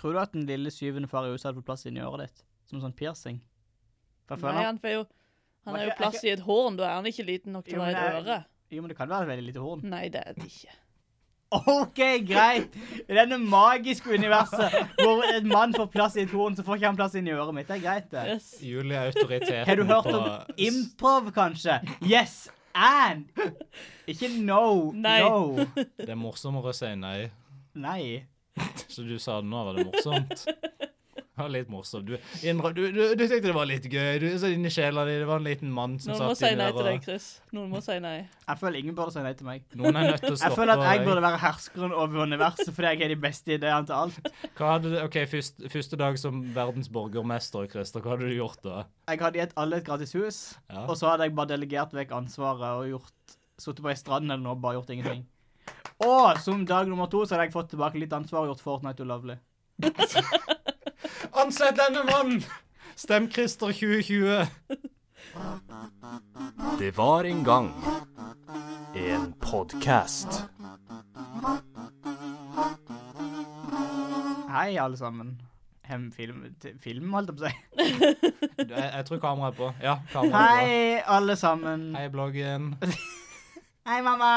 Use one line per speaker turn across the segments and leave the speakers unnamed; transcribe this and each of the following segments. Tror du at den lille syvende far i huset hadde fått plass inni øret ditt? Som en sånn piercing? For jeg
Nei,
føler-
han får jo Han
Var
har jo
ikke- er
plass i et horn, da er han ikke liten nok til
Jo,
å ha et
men det er-
øre.
Jo, men det kan være et veldig lite horn.
Nei, det er det ikke.
OK, greit. I denne magiske universet hvor en mann får plass i et horn, så får ikke han plass inni øret mitt. Det er greit, det.
Yes.
Julie er autoriteten
Har du hørt
på-
om improv, kanskje? Yes and. Ikke no.
Nei.
No.
Det er morsommere å si nei.
Nei.
Så du sa nå var det morsomt. Det var litt morsomt. Du, innrø- du, du, du tenkte det var litt gøy. Du så inni sjela di, det var en liten mann som
Noen må
satt
si
inni
nei
der.
til deg,
og-
Chris. Noen må si nei.
Jeg føler ingen burde si nei til meg.
Noen er nødt til å
Jeg
stoppe
føler at jeg
deg.
burde være herskeren over universet fordi jeg har de beste ideene til alt.
Hva hadde du, ok, først, Første dag som verdens borgermester, Christer, hva hadde du gjort da?
Jeg hadde gitt alle et gratis hus,
Ja.
og så hadde jeg bare delegert vekk ansvaret og gjort sittet på ei strand eller noe og bare gjort ingenting. Og som dag nummer to så hadde jeg fått tilbake litt ansvar og gjort Fortnite ulovlig.
Ansett denne mannen! Stem Christer 2020.
Det var en gang en podkast.
Hei, alle sammen. Hem film, t- film, holdt jeg på å si.
Jeg, jeg tror kameraet er på. Ja, kameraet er på.
Hei, alle sammen.
Hei, bloggen.
Hei, mamma.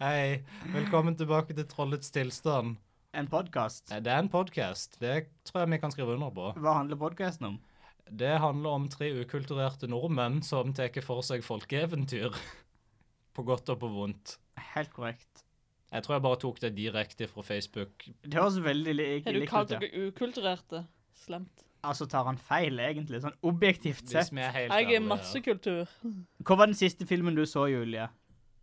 Hei. Velkommen tilbake til Trollets tilstand.
En podkast.
Eh, Det er en podkast. Det tror jeg vi kan skrive under på.
Hva handler podkasten om?
Det handler om tre ukulturerte nordmenn som tar for seg folkeeventyr. På godt og på vondt.
Helt korrekt.
Jeg tror jeg bare tok det direkte fra Facebook.
Det høres veldig li
Har du
likt ut.
kalt
ja.
dere
eh?
ukulturerte? Slemt.
Altså tar han feil, egentlig. Sånn objektivt
Hvis
sett.
vi er helt
Jeg er
ærlige.
masse kultur.
Hva var den siste filmen du så, Julie?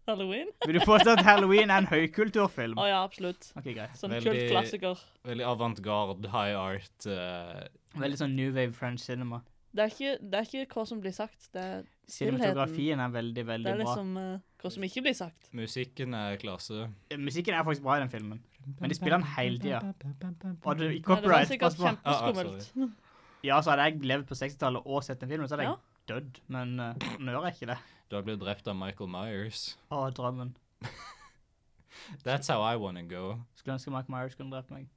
Halloween?
Vil du påstå at Halloween er en høykulturfilm?
Å ja, absolutt.
Ok, greit.
Sånn
Veldig-
kultklassiker.
Veldig avantgarde, high art. eh,
Veldig sånn new wave French cinema.
Det er, ikke, det er ikke hva som blir sagt, det er,
Cinematografien er veldig,
det
veldig
er
bra.
liksom eh, hva som ikke blir sagt.
musikken er klasse.
Musikken er faktisk bra i den filmen. Men de spiller den hele tida. Og det, i
Nei, det var
copyright
sikkert
spørsmål.
Ah, ah,
kjempeskummelt.
Ja, så hadde jeg levd på 60-tallet og sett den filmen, så hadde
Ja.
jeg dødd. Men eh, nå gjør jeg ikke det.
Du har blitt drept av Michael Myers.
Å, drømmen.
That's how I wanna go.
Skulle ønske Mike Myers kunne drept meg.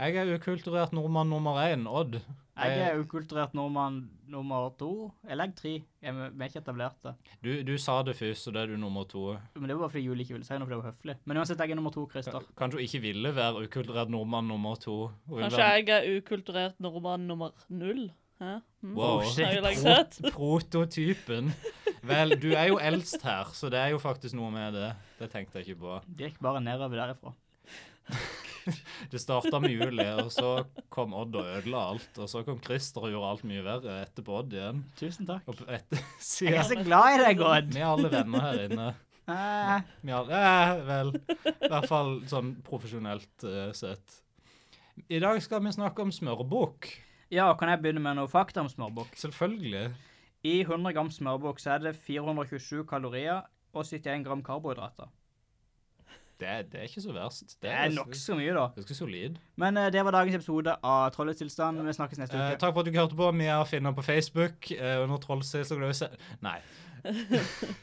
Jeg er ukulturert nordmann nummer én, Odd. Eh,
Jeg
Jeg-
er ukulturert nordmann nummer to. Eller jeg tre. Jeg vi er ikke etablert det.
Du, du sa det først, så da er du nummer to.
Men det var bare fordi Julie ikke ville si noe, for det var høflig. Men uansett, jeg er nummer to, Christer.
Kanskje du ikke ville være ukulturert nordmann nummer to? og vil
Kanskje
være-
jeg er ukulturert nordmann nummer null? Hæ? Mm.
Wow.
Oh, shit.
Har jeg lagt
Pro-
sett?
Prototypen. Vel, du er jo eldst her, så det er jo faktisk noe med det. Det tenkte jeg ikke på.
Det gikk bare nedover derifra.
Det starta med Julie, og så kom Odd og ødela alt. Og så kom Christer og gjorde alt mye verre etter Odd igjen.
Tusen takk.
Og etter,
Jeg er
siden,
så glad i deg, Odd.
vi er alle venner her inne.
Eh,
Vi har, eh, vel, i hvert fall sånn profesjonelt eh, sett. I dag skal vi snakke om smørbukk.
Ja, kan jeg begynne med noe fakta om smørbukk?
Selvfølgelig.
I 100 gram smørbukk så er det 427 kalorier og 71 gram karbohydrater.
Det, er- det er ikke så verst.
Det er nokså mye, da.
Ganske solid.
Men eh, det var dagens episode av Trollets tilstand. Vi snakkes neste
Eh,
uke.
takk for at du hørte på. Vi er å finne på Facebook eh, under Trollstilsdagløse Nei.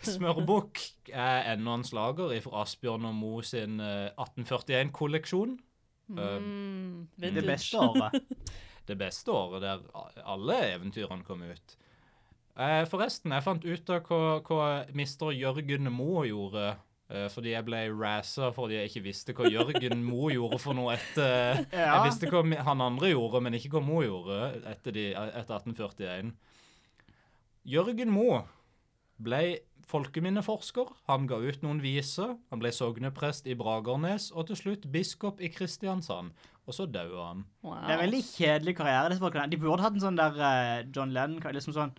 Smørbukk er enda en slager fra Asbjørn og Mo sin eh, 1841-kolleksjon.
Mm,
Det
vintage.
beste året.
det beste året der alle eventyrene kom ut. Eh, forresten, jeg fant ut av hva, hva mister Jørgen Moe gjorde. eh, Fordi jeg ble razza fordi jeg ikke visste hva Jørgen Moe gjorde for noe etter
Ja.
Jeg visste hva mi- han andre gjorde, men ikke hva Moe gjorde etter, de, etter 1841. Jørgen Moe ble folkeminneforsker. Han ga ut noen viser. Han ble sogneprest i Bragernes og til slutt biskop i Kristiansand. Og så døde han.
Wow.
Det er veldig kjedelig karriere. disse folkene. De burde hatt en sånn der eh, John Lennon liksom sånn.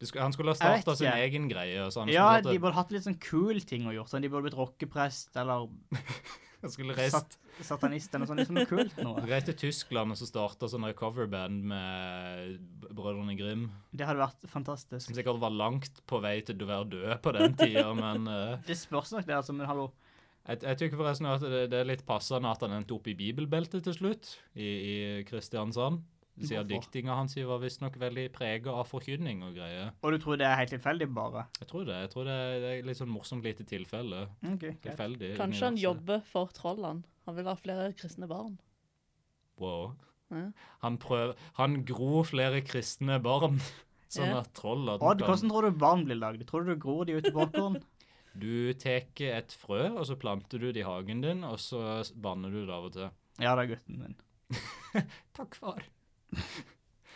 Det skulle, han skulle ha
Jeg vet
starta sin
ikke.
egen greie. og Så
Ja,
han,
de
skulle, hatt
burde hatt litt sånn cool ting å gjøre. Sånn, de burde blitt rockeprest eller
et- han skulle reist,
sat satanist eller noe sånt. Liksom noe kult noe.
reist til Tyskland og så starta sånn recoverband med b- Brødrene Grim.
Det hadde vært fantastisk.
Som sikkert var langt på vei til å være død på den tida, men eh,
Det spørs nok det, altså, men hallo.
jeg, jeg tykker forresten at det, det er litt passende at han endte opp i bibelbeltet til slutt, i, i Kristiansand. Siden
Hvorfor?
diktinga hans var visstnok veldig prega av forkynning og greier.
Og du tror det er helt tilfeldig, bare?
Jeg tror det. jeg tror det, er- det er litt sånn morsomt lite tilfelle.
Ok, greit.
Tilfeldig.
Kanskje han
universet.
jobber for trollene. Han vil ha flere kristne barn.
på.
Ja.
Han, prøv, han gror flere kristne barn, sånn
Ja.
at trollene
Odd,
kan
hvordan tror du barn blir lagd? Tror du du gror de ut i popkorn?
Du tar et frø, og så planter du det i hagen din, og så banner du det av og til.
Ja, det er gutten min.
Takk, far.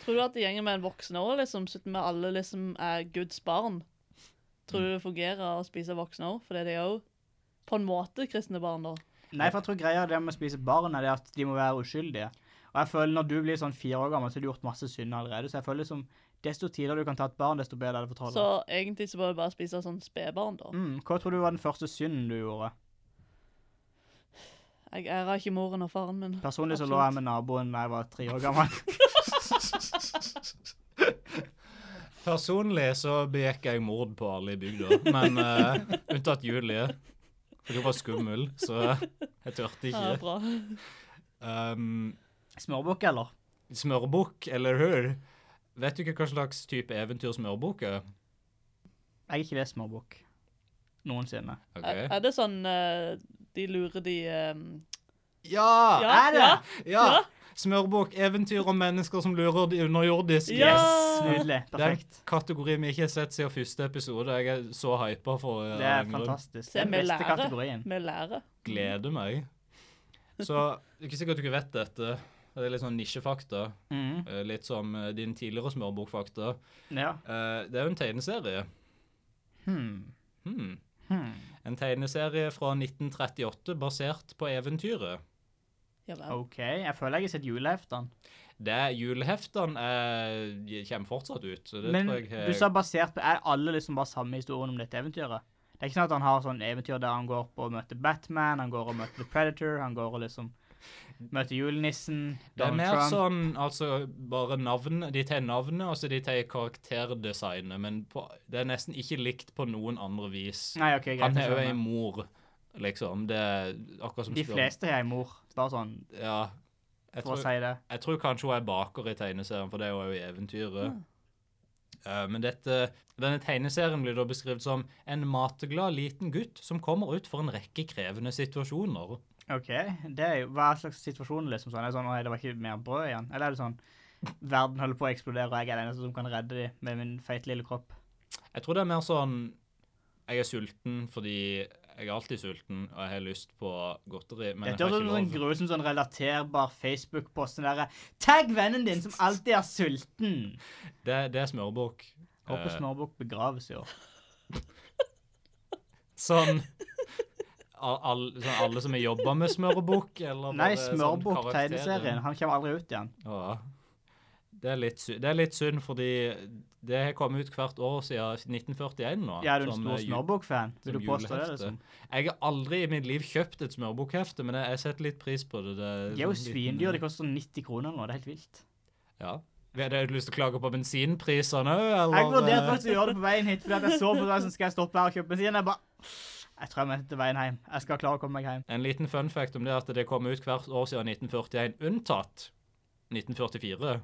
Tror du at det gjenger med en voksen òg, liksom? Siden vi alle liksom er Guds barn. Tror du det fungerer å spise voksne òg? For det er de òg på en måte kristne barn, da.
Nei, for jeg tror greia er det med å spise barn er det at de må være uskyldige. Og jeg føler når du blir sånn fire år gammel, så har du gjort masse synd allerede. Så jeg føler liksom, desto tidligere du kan ta et barn, desto bedre er det for
Så
trollet.
egentlig så bør du bare spise sånn spedbarn, da.
Mm, hva tror du var den første synden du gjorde?
Jeg ærer ikke moren og faren min.
Personlig så lå
Absolutt.
jeg med naboen da jeg var tre år gammel.
Personlig så begikk jeg mord på alle i bygda, men eh, unntatt Julie. For hun var skummel, så jeg tørte
Ja,
ikke.
bra.
Um,
Smørbukk, eller?
smørbukk, eller hør? Vet du ikke hva slags type eventyr smørbukk er?
Jeg er ikke det smørbukk. Noensinne.
Er,
Ok.
er det sånn eh, de lurer de eh,
Ja!
er det?
ja,
ja. Smørbukk, eventyr om mennesker som lurer de underjordisk.
Ja!
Nydelig.
Det er en
Perfekt.
kategori vi ikke har sett siden første episode. Jeg er så hypa for eh,
Det er
den grunn.
fantastisk.
Se,
Den
vi
beste
lærer.
kategorien.
Vi lærer.
Gleder meg. Så det er ikke sikkert du ikke vet dette. Det er litt sånn nisjefakta.
Mm,
eh, Litt som eh, din tidligere smørbukfakta.
ja.
Eh, Det er jo en tegneserie.
Hmm.
Hmm.
Hmm.
En tegneserie fra 1938 basert på eventyret.
Ja vel.
OK. Jeg føler jeg har sett juleheftene.
Det Juleheftene er, de kommer fortsatt ut. Så det
Men
tror jeg
du sa basert på Er alle liksom bare samme historien om dette eventyret? Det er ikke sånn at han har sånn eventyr der han går på og møter Batman, han går og møter The Predator, han går og liksom møter julenissen,
Det er
Donald
mer
Trump
sånn altså bare navn De tar navnet, og så de tar karakterdesignet, men på, det er nesten ikke likt på noen andre vis.
Nei, OK, greit.
Han
jeg
er jo ei
skjønner.
mor, liksom. Det er akkurat som
De
Spør-
fleste har ei mor, bare sånn
Ja. Jeg
for å
tror,
si det.
jeg tror kanskje hun er baker i tegneserien, for det er hun jo i eventyret.
Mm.
Eh, men dette, denne tegneserien blir da beskrevet som en mateglad liten gutt som kommer ut for en rekke krevende situasjoner.
OK. Det er jo Hva slags situasjon, liksom? sånn? Er det sånn Oi, det var ikke mer brød igjen? Eller er det sånn Verden holder på å eksplodere, og jeg er den eneste som kan redde dem med min feite lille kropp.
Jeg tror det er mer sånn Jeg er sulten fordi jeg er alltid sulten, og jeg har lyst på godteri, men
Dette
jeg
høres ut som
har
en
ikke lov.
grusom sånn relaterbar Facebook-post. Den derre Tagg vennen din som alltid er sulten!
Det, det er smørbukk.
Håper
Eh,
Smørbukk begraves i år.
Sånn al- al- sånn alle som har jobba med smørbukk, eller
Nei,
bare sånn
Smørbukk,
karakterer.
tegneserien. Han kommer aldri ut igjen.
Ja. Det er, litt, sy- det er litt synd, fordi det har kommet ut hvert år siden 1941 nå.
Ja, er du en
som,
stor
eh, ju-
Smørbukk-fan?
som
Vil du påstå det?
julehefte.
liksom?
Jeg har aldri i mitt liv kjøpt et smørbukkhefte, men jeg jeg setter litt pris på det. det
De er jo
sånn liten-
svindyr. De koster sånn 90 kroner nå. Det er helt vilt.
Ja. Hadde du lyst til å klage på bensinprisene òg, eller? eh,
Jeg vurderte faktisk å gjøre det på veien hit, fordi at jeg så på det som skal jeg stoppe her og kjøpe bensin. Jeg bare Jeg tror jeg mente til veien hjem. Jeg skal klare å komme meg hjem.
En liten fun fact om det er at det kom ut hvert år siden 1941, unntatt 1944.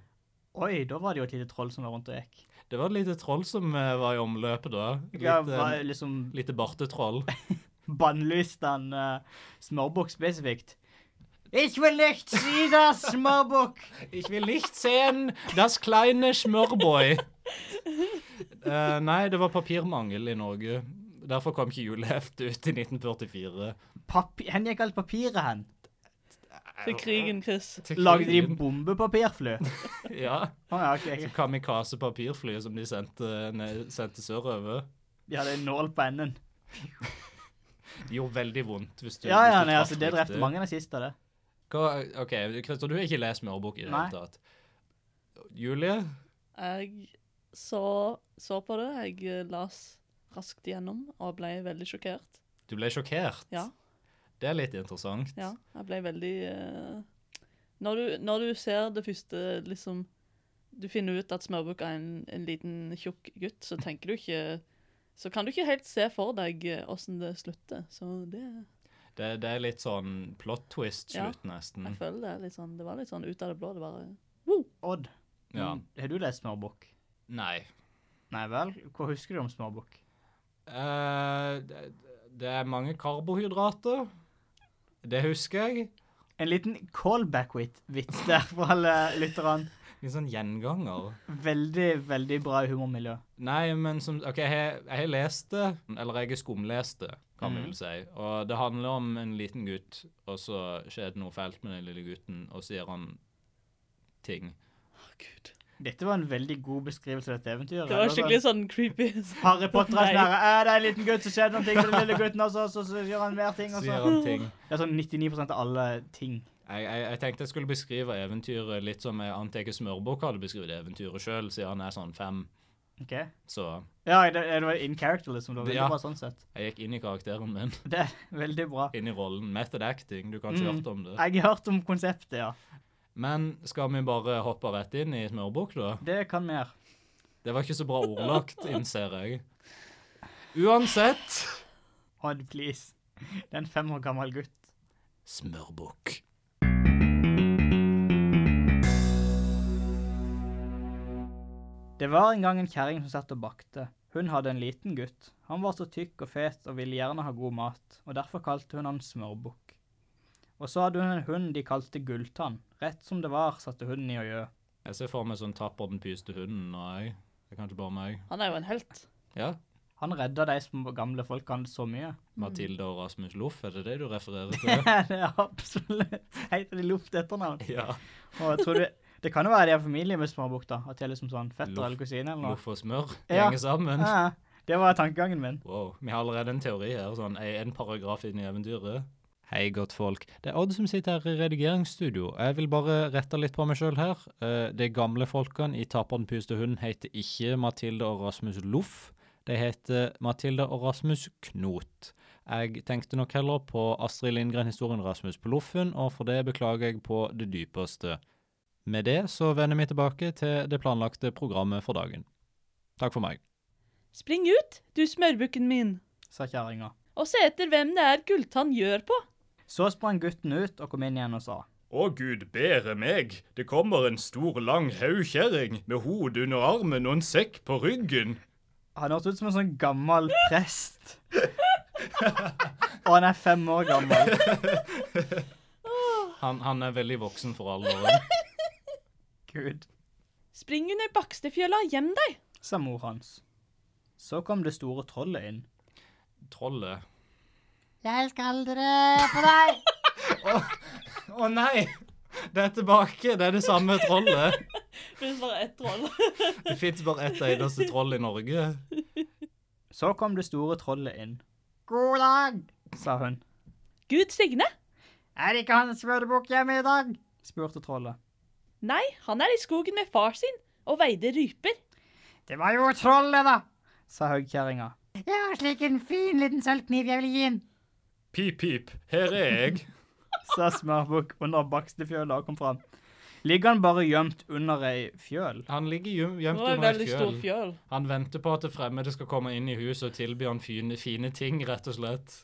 Oi, da var det jo et lite troll som var rundt og gikk.
Det var et lite troll som eh, var i omløpet da. Et
Ja,
lite,
var liksom
lite bartetroll.
bannlyste han uh, Smørbukk spesifikt. Ich will nicht si das, Smørbukk!
Ich will nicht sehen das kleine smørboy. Eh, nei, det var papirmangel i Norge. Derfor kom ikke juleheftet ut i 1944.
Papi- Hvor gikk alt papiret hen?
Til krigen, Chris.
Til
Lagde de
krigen.
bombepapirfly?
Ja.
Å ja, ok.
Så
ok.
kamikaze papirfly som de sendte, eh, ned- sendte sørover.
De hadde en nål på enden.
Det gjorde veldig vondt. hvis du
Ja, ja,
hvis du
nei,
traff eh.
altså, det drepte
riktig.
mange nazister, det.
Hva, OK, Christer, du har ikke lest smørbukk i det
Nei.
hele tatt. Julie?
Jeg så, så på det. Jeg eh, las raskt gjennom og ble veldig sjokkert.
Du ble sjokkert.
Ja,
Det er litt interessant.
ja. Jeg ble veldig eh, når, du, når du ser det første, liksom Du finner ut at Smørbukk er en, en liten, tjukk gutt, så tenker du ikke Så kan du ikke helt se for deg eh, åssen det slutter. Så det
Det, det er litt sånn plot
Ja.
twist-slutt, nesten.
Jeg føler det er litt sånn Det var litt sånn ut av det blå. Det bare
Odd, mm,
Ja.
har du lest Smørbukk?
Nei.
Nei vel? Hva husker du om Smørbukk?
Eh, det, det er mange karbohydrater. Det husker jeg.
En liten callback-vits der for alle lytterne.
Litt sånn gjenganger.
Veldig, veldig bra humormiljø.
Nei, men som OK, jeg har- jeg har lest det, eller jeg har skumlest det, kan vi
Mhm.
vel si. Og det handler om en liten gutt, og så skjer det noe fælt med den lille gutten, og så gjør han ting.
Å, Gud.
Dette var en veldig god beskrivelse av dette eventyret.
Det var
sånn-
skikkelig sånn creepy.
Harry Potter er
Nei.
sånn her, «Eh, Det er en liten gutt som skjedde noen ting med den lille gutten, og så, så, så gjør han mer ting.
Så
Og
gjør
så.
han ting.
Det er sånn 99 av alle ting.
Jeg, jeg, jeg tenkte jeg skulle beskrive eventyret litt som jeg antar ikke Smørbukk hadde beskrevet eventyret sjøl, siden han er sånn fem.
Ok?
Så
Ja, det, det var in character, liksom. Det var veldig
Ja.
bra sånn sett.
jeg gikk inn i karakteren min,
Det er veldig bra.
inn i rollen. Method acting, du kan ikke
Mm.
hørt om det.
Jeg har hørt om konseptet, ja.
Men skal vi bare hoppe rett inn i Smørbukk, da?
Det kan vi gjøre.
Det var ikke så bra ordlagt, innser jeg. Uansett
Odd, please. Det er en fem år gammel gutt.
Smørbukk.
Det var en gang en kjerring som satt og bakte. Hun hadde en liten gutt. Han var så tykk og fet og ville gjerne ha god mat, og derfor kalte hun han Smørbukk. Og så hadde hun en hund de kalte Gulltann. Rett som det var, satte hunden i å gjø.
Jeg ser for meg sånn tapper den pyste hunden og jeg. Det er kanskje bare meg.
Han er jo en helt.
Ja.
Han redda de små gamle folkene så mye.
Mathilde og Rasmus Loff, er det det du refererer til?
det er absolutt Heter de Loft etternavn?
ja.
Og jeg tror det, det kan jo være de har familie med Smørbukk, da. At de er liksom sånn fetter
Loff.
eller kusine eller noe.
Loff og smør
Ja.
gjenger sammen.
Ja, det var tankegangen min.
Wow. Vi har allerede en teori her, sånn ei- en paragraf inn i eventyret. Hei, godt folk. Det er Odd som sitter her i redigeringsstudio. Jeg vil bare rette litt på meg sjøl her. Eh, De gamle folkene i Taperen pyste hund heter ikke Mathilde og Rasmus Loff. De heter Mathilde og Rasmus Knot. Jeg tenkte nok heller på Astrid Lindgren-historien Rasmus på Loffen, og for det beklager jeg på det dypeste. Med det så vender vi tilbake til det planlagte programmet for dagen. Takk for meg.
Spring ut, du smørbukken min,
Sa kjerringa.
og se etter hvem det er Gulltann gjør på.
Så sprang gutten ut og kom inn igjen og sa.
Å gud bære meg, det kommer en stor, lang haukjerring med hodet under armen og en sekk på ryggen.
Han hørtes ut som en sånn gammel prest. Og han er fem år gammel.
Han, han er veldig voksen for alderen.
Gud,
Spring under Bakstefjøla, gjem deg.
sa mor hans. Så kom det store trollet inn.
Trollet.
Jeg skal drepe deg!
Å nei! Det er tilbake, det er det samme trollet.
Finnes bare ett troll.
Det fins bare ett eneste troll i Norge.
Så kom det store trollet inn,
God dag!
sa hun.
Gud signe.
Er ikke han smørbukk hjemme i dag?
Spurte trollet.
Nei, han er i skogen med far sin og veide ryper.
Det var jo trollet, da!
Sa høgkjerringa.
Jeg har slik en fin liten sølvkniv jeg vil gi han.
Pip, pip, her er jeg.
Sa smørbukk under bakstefjøla og kom fram. Ligger han bare gjemt under ei fjøl?
Han ligger gjem-
Det
gjemt
var en
under
veldig
ei
stor
fjøl.
fjøl.
Han venter på at det fremmede skal komme inn i huset og tilby han fine, fine ting, rett og slett.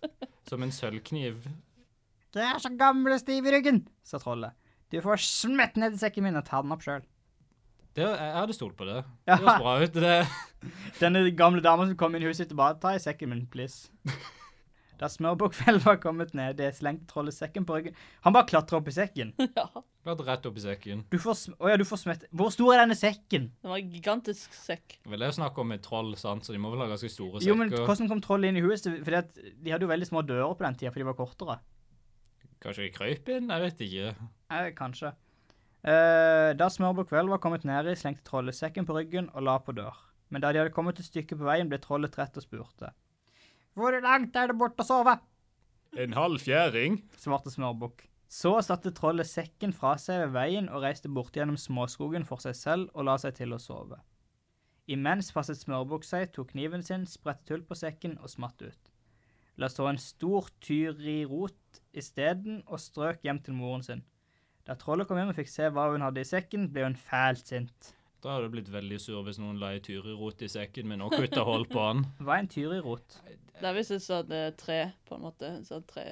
Som en sølvkniv.
Du er så gammel og stiv i ryggen.
Sa trollet. Du får smett ned i sekken min og ta den opp sjøl.
Det, jeg hadde stolt på det.
Ja.
Det høres bra ut. det.
Denne gamle dama som kom inn i huset sitt og bare Ta i sekken min, please. Da smørbukkfellen var kommet ned, det slengte trollet sekken på ryggen. Han bare klatra opp i sekken.
Ja,
Vært rett opp i sekken.
Du får, sm Å ja, du får smett... Hvor stor er denne sekken?
det var en gigantisk sekk.
Vel, det er jo snakk om et troll, sant? så de må vel ha ganske store sekker.
Jo, men hvordan kom trollet inn i huset? Fordi at De hadde jo veldig små dører på den tida, for de var kortere.
Kanskje de krøyp inn? Jeg vet ikke.
Eh, kanskje. Eh, da smørbukkfellen var kommet nedi, slengte trollet sekken på ryggen og la på dør. Men da de hadde kommet et stykke på veien, ble trollet trett og spurte.
Hvor langt er det bort å sove?
En halv fjæring?
Svarte smørbukk. Så satte trollet sekken fra seg ved veien og reiste bort gjennom småskogen for seg selv og la seg til å sove. Imens passet smørbukk seg, tok kniven sin, spredte hull på sekken og smatt ut. La så en stor tyrirot isteden og strøk hjem til moren sin. Da trollet kom hjem og fikk se hva hun hadde i sekken, ble hun fælt sint.
Da hadde jeg blitt veldig sur hvis noen la ei tyrirot i sekken min og kutta hold på han.
Hva er en tyrirot?
Det er visst et sånt eh, tre, på en måte. En sånn tre,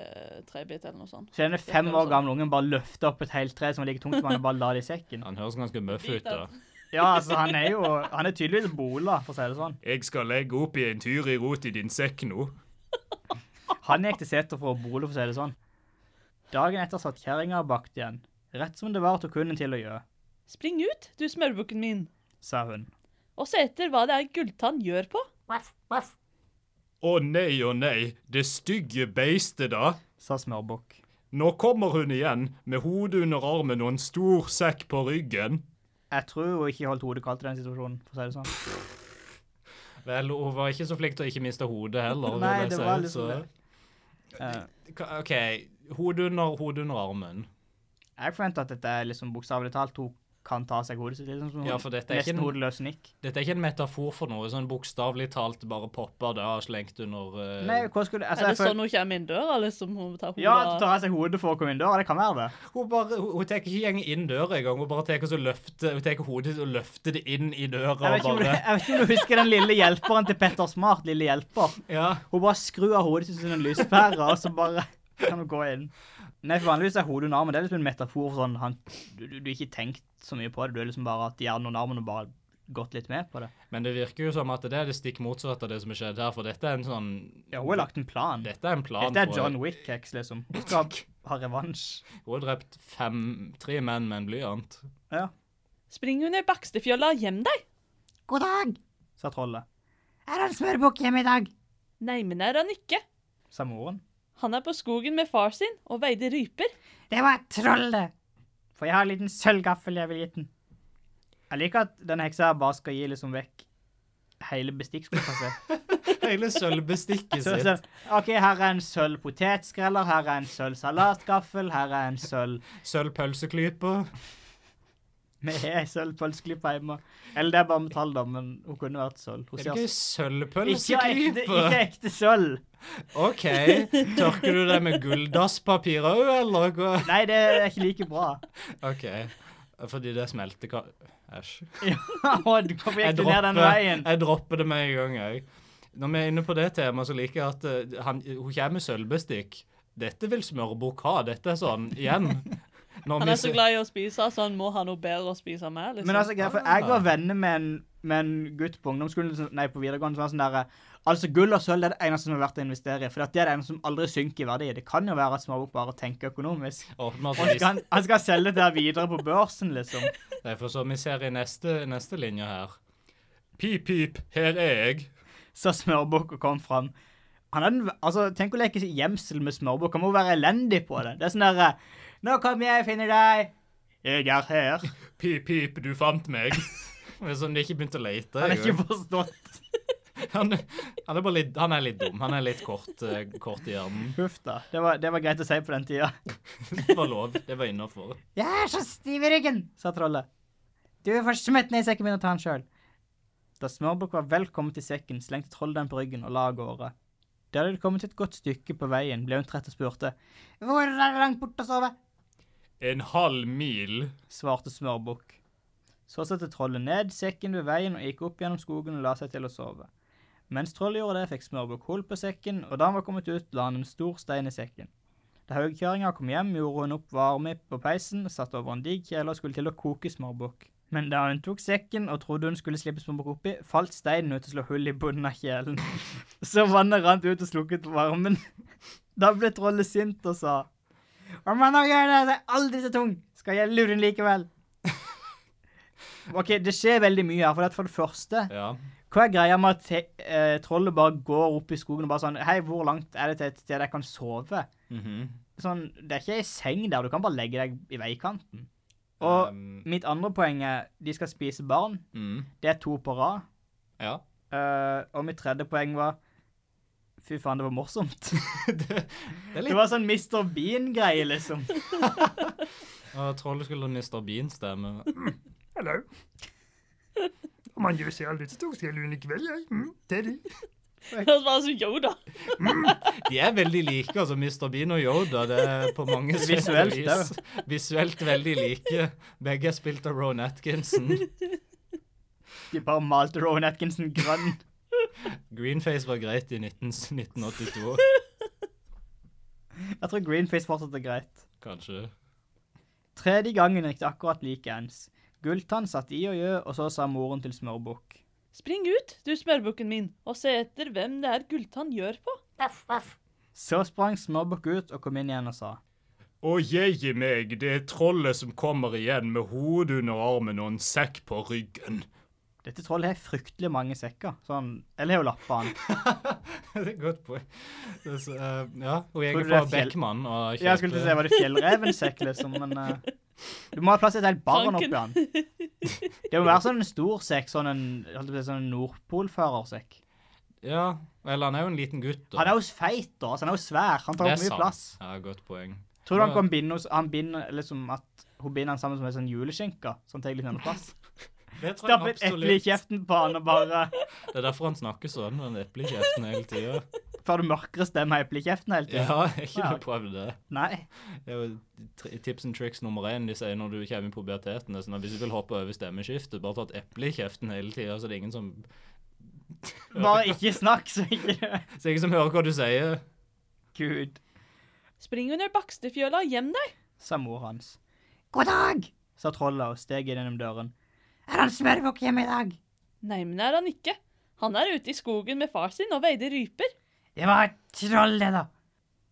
trebit eller noe sånt.
Så denne fem år gamle ungen bare løfter opp et helt tre som ligger tungt som han og bare la det i sekken.
Han høres ganske møff ut, da.
Ja, altså, han er jo Han er tydeligvis bola, for å si det sånn.
Jeg skal legge oppi en tyrirot i din sekk nå.
Han gikk til seter for å bole, for å si det sånn. Dagen etter satt kjerringa og bakte igjen. Rett som det var tok hunden til å gjøre,
Spring ut, du smørbukken min,
sa hun.
og se etter hva det er Gulltann gjør på.
Å nei, å nei, det stygge beistet, da.
Sa smørbukk.
Nå kommer hun igjen, med hodet under armen og en stor sekk på ryggen.
Jeg tror hun ikke holdt hodet kaldt i den situasjonen, for å si det sånn.
Vel, hun var ikke så flink til å ikke miste hodet heller.
Nei,
vil jeg
det
si,
var liksom
så-
det. Eh,
Ka- OK, hodet under, hodet under armen.
jeg forventer at dette er liksom bokstavelig talt hun kan ta seg hodet sitt. Liksom, som
Ja, for dette er ikke
nesten
en-
hodeløs nikk.
Dette er ikke en metafor for noe sånn bokstavelig talt bare popper da og slengt under eh,
Nei, hva skulle altså,
Er
jeg
det
føl-
sånn hun kommer inn døra, liksom? Hun tar hodet
Ja, at hun
av?
tar av seg hodet for å komme inn døra. Det kan være det.
Hun bare, hun, hun tar ikke gjengen inn døra engang. Hun bare tar og så løfter- hun tar hodet sitt og løfter det inn i
Jeg
døra.
vet, ikke om
og
du,
bare,
jeg vet ikke om du husker den lille hjelperen til Petter Smart, lille hjelper.
ja.
Hun bare skrur av hodet sitt som en lyspære, og så bare kan hun gå inn. Nei, for vanligvis er hodet under armen. Det er liksom en metafor for sånn han, du, du, du har ikke tenkt så mye på det. Du er liksom bare at hjernen under armen og bare gått litt med på det.
Men det virker jo som at det er det stikk motsatte av det som har skjedd her, for dette er en sånn
Ja, hun har lagt en plan.
Dette er en plan.
Dette er
for-
John Wick-heks, liksom. Hun skal ha revansj.
Hun har drept fem, tre menn med en blyant.
Ja,
Spring under Bakstefjøla, gjem deg!
God dag.
sa trollet.
Er det en smørbukk hjemme i dag?
Nei, men er han ikke.
Sa moren.
Han er på skogen med far sin og veide ryper.
Det var et troll, det.
For jeg har en liten sølvgaffel jeg vil gitt den. Jeg liker at denne heksa her bare skal gi liksom vekk hele bestikkskuffa si.
Hele sølvbestikket
Så-
sitt.
så- OK, her er en sølv potetskreller, her er en sølv salatgaffel, her er en sølv
Sølvpølseklype.
Vi har ei sølvpølseklype hjemme. Eller det er bare metall, da, men hun kunne vært sølv. Hun
Er
sier
det ikke
ikke ekte,
sølvpølseklype?
ikke ekte sølv.
OK. Tørker du det med gulldasspapir òg, eller hva?
Nei, det er ikke like bra.
OK. Fordi det smelter ka... Æsj.
Ja, Odd, hvorfor gikk
Jeg
du ned den veien?
jeg dropper det med en gang, jeg. Når vi er inne på det temaet, så liker jeg at eh, han, hun kommer med sølvbestikk. Dette vil smørbukk ha. Dette er sånn igjen. Når
Han
vi
er så
ser-
glad i å spise, så han må ha noe bedre å spise med. Liksom.
Men altså, greit, for jeg var venner med en, med en gutt på ungdomsskolen, som- nei, på videregående, som var sånn derre Altså, gull og sølv det er det eneste som er verdt å investere i. For det er det eneste som aldri synker i verdi. Det kan jo være at Småbok bare tenker økonomisk.
Åpner
Han
til
skal, han skal selge det der videre på børsen, liksom.
Det er for så vi ser i neste, neste linje her. Pip, pip, her er jeg.
Så smørbukk og kom fram. Han er den, altså, tenk å leke gjemsel med smørbukk. Han må være elendig på det. Det er sånn derre Nå kommer jeg og finner deg. Jeg er her.
Pip, pip, du fant meg. Det er sånn de ikke begynte å lete.
Han er
engang.
ikke forstått.
han, han, er bare litt, han er litt dum. Han er litt kort, eh, kort i hjernen.
Huff da. Det var, det var greit å si på den tida,
Det var lov. Det var innafor.
Jeg er så stiv i ryggen.
sa trollet.
Du får smette ned i sekken min og ta den sjøl.
Da Smørbukk var vel kommet i sekken, slengte trollet den på ryggen og la av gårde. Da de hadde kommet et godt stykke på veien, ble hun trett og spurte.
Hvor er det langt bort å sove?
En halv mil.
Svarte Smørbukk. Så satte trollet ned sekken ved veien og gikk opp gjennom skogen og la seg til å sove. Mens trollet gjorde det, fikk Smørbukk hull på sekken, og da han var kommet ut, la han en stor stein i sekken. Da haugkjøringa kom hjem, gjorde hun opp varme på peisen, satte over en digg kjele og skulle til å koke smørbukk. Men da hun tok sekken og trodde hun skulle slippe smørbukk oppi, falt steinen ut og slo hull i bunnen av kjelen. Så vannet rant ut og slukket varmen. Da ble trollet sint og sa
Om man nå gjør det, så er jeg aldri så tung. Skal jeg lure den likevel?
OK, det skjer veldig mye her, for at for det første
Ja.
Hva er greia med at he- eh, trollet bare går opp i skogen og bare sånn Hei, hvor langt er det til et sted jeg kan sove?
Mhm.
Sånn, Det er ikke ei seng der, du kan bare legge deg i veikanten. Og
Um,
mitt andre poeng er de skal spise barn.
mm,
Det er to på rad.
ja.
Eh, og mitt tredje poeng var Fy faen, det var morsomt.
det, det er
Det
litt
var sånn Mr. Bean-greie, liksom.
Ja, Trollet skulle ha Mr. Bean-stemme.
Hallo. Om han gjør seg aldri så stor, skal jeg lune kveld, jeg. Mm, det er det.
Han var så Yoda.
De er veldig like, altså. Mr. Bean og Yoda. Det er på mange sett og
Visuelt,
vis. Visuelt veldig like. Begge er spilt av Rowan Atkinson.
De bare malte Rowan Atkinson grønn.
Greenface var greit i 19, 1982,
Jeg tror Greenface fortsatt er greit.
kanskje.
Tredje gangen gikk det akkurat likeens. Gulltann satt i og gjø, og så sa moren til Smørbukk.
Spring ut, du smørbukken min, og se etter hvem det er Gulltann gjør på.
Så sprang Smørbukk ut og kom inn igjen og sa.
Å jeie meg, det er trollet som kommer igjen med hodet under armen og en sekk på ryggen.
Dette trollet har fryktelig mange sekker. Sånn, eller har jo lappa han.
det er et godt poeng. Det er så, eh, ja, og jeg
Tror du det
er
er
fra
fjell-
Beckmann og
Jeg skulle til å si, var det fjellrevensekk, liksom, men eh, Du må ha plass til et helt barn oppi
Tanken.
han. Det må være sånn en stor sekk, sånn en holdt jeg på å si, sånn en Nordpolførersekk.
eh, Ja, eller han er jo en liten gutt. da.
Han er jo feit, da. Altså, han er jo svær. Han tar
Det er
opp mye
sant.
plass.
Ja, godt poeng.
Tror du han kan binde hos Han binder liksom at hun binder han sammen som en sånn juleskinke, sånn at jeg litt plass?
Det tror jeg
Stapp et eple i
absolutt.
kjeften på han og bare
Det er derfor han snakker sånn, med den eplekjeften hele tida.
Får du mørkere stemme i eplekjeften hele tiden?
Ja, jeg
Ja,
kunne
ok.
prøvd det.
Nei.
Det er jo tri- tips and tricks nummer én de sier når du kommer i puberteten. Det er sånn at hvis du vil hoppe over stemmeskiftet, bare ta et eple i kjeften hele tida, så det er ingen som
Bare ikke snakk, så ikke
Så det er ingen som hører hva du sier.
Gud,
Spring under bakstefjøla, gjem deg!
sa mor hans.
God dag!
Sa trollet og steg inn gjennom døren.
Er han smørbukk hjemme i dag?
Nei, men det er han ikke. Han er ute i skogen med far sin og veide ryper.
Det var et troll, det, da.